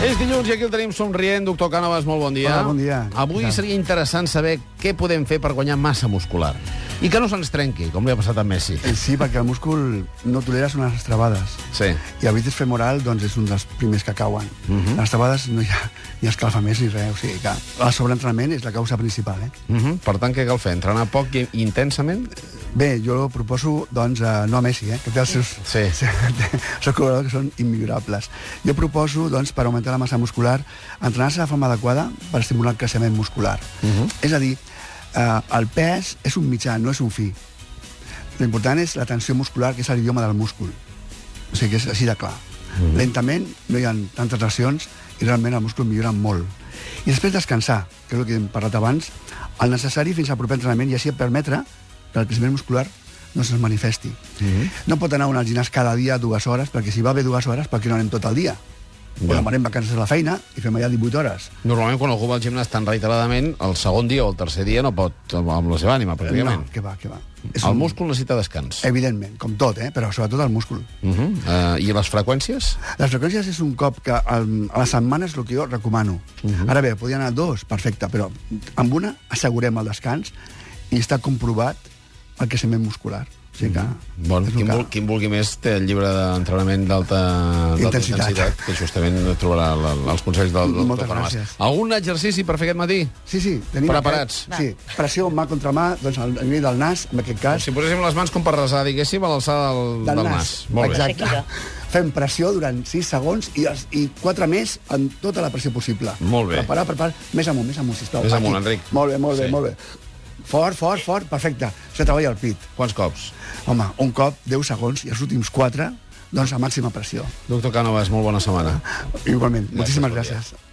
És dilluns i aquí el tenim somrient. Doctor Cànovas, molt bon dia. Hola, bon dia. Avui Què tal? seria interessant saber què podem fer per guanyar massa muscular. I que no se'ns trenqui, com li ha passat a Messi. Eh, Sí, perquè el múscul no tolera unes estrabades. Sí. I el bíceps femoral doncs, és un dels primers que cauen. Uh -huh. Les estrabades no hi ha, ni escalfa més ni res. O sigui que el sobreentrenament és la causa principal. Eh? Uh -huh. Per tant, què cal fer? Entrenar poc i i intensament? Bé, jo proposo, doncs, eh, no a Messi, eh, que té els seus, Sí. els seus corredors que són immillorables. Jo proposo, doncs, per augmentar la massa muscular, entrenar-se de forma adequada per estimular el creixement muscular. Uh -huh. És a dir, eh, el pes és un mitjà, no és un fi. L'important és la tensió muscular, que és l'idioma del múscul. O sigui que és així de clar. Mm -hmm. Mm-hmm. Lentament, no hi ha tantes lesions i realment el múscul millora molt. I després descansar, que és el que hem parlat abans, el necessari fins al proper entrenament i així permetre que el creixement muscular no se'ns manifesti. Mm -hmm. Mm-hmm. No pot anar a un al gimnàs cada dia dues hores, perquè si va bé dues hores, per què no anem tot el dia? Ja. Yeah. O demanem vacances a la feina i fem allà 18 hores. Normalment, quan algú va al gimnàs tan reiteradament, el segon dia o el tercer dia no pot amb- amb la seva ànima, pràcticament. No, que va, que va. És El múscul necessita descans. Evidentment, com tot, eh? però sobretot el múscul. Uh -huh. uh, I les freqüències? Les freqüències és un cop que um, a la setmana és el que jo recomano. Uh Mhm. -huh. Ara bé, podria anar dos, perfecte, però amb una assegurem el descans i està comprovat el creixement muscular. O sigui que... Uh -huh. Bon, qui, vol, qui en vulgui més té el llibre d'entrenament d'alta d'alta Intensitat. intensitat, que justament trobarà la, la, els consells del, del Moltes doctor Canamas. gràcies. Algun exercici per fer aquest matí? Sí, sí, tenim... Preparats. Aquest, sí, pressió mà contra mà, doncs al nivell del nas, en aquest cas. Si poséssim les mans com per resar, diguéssim, a l'alçada del, del, nas. Molt bé. Exacte. Shakira. Fem pressió durant 6 segons i, els, i 4 més amb tota la pressió possible. Molt bé. Preparar, preparar. Més amunt, més amunt, sisplau. Més amunt, Aquí. Enric. Molt bé, molt bé, Sí. sí. molt bé. Fort, fort, fort, perfecte. Això treballa el pit. Quants cops? Home, un cop, 10 segons, i els últims 4, doncs a màxima pressió. Doctor Cànovas, molt bona setmana. Igualment, moltíssimes bon dia. gràcies.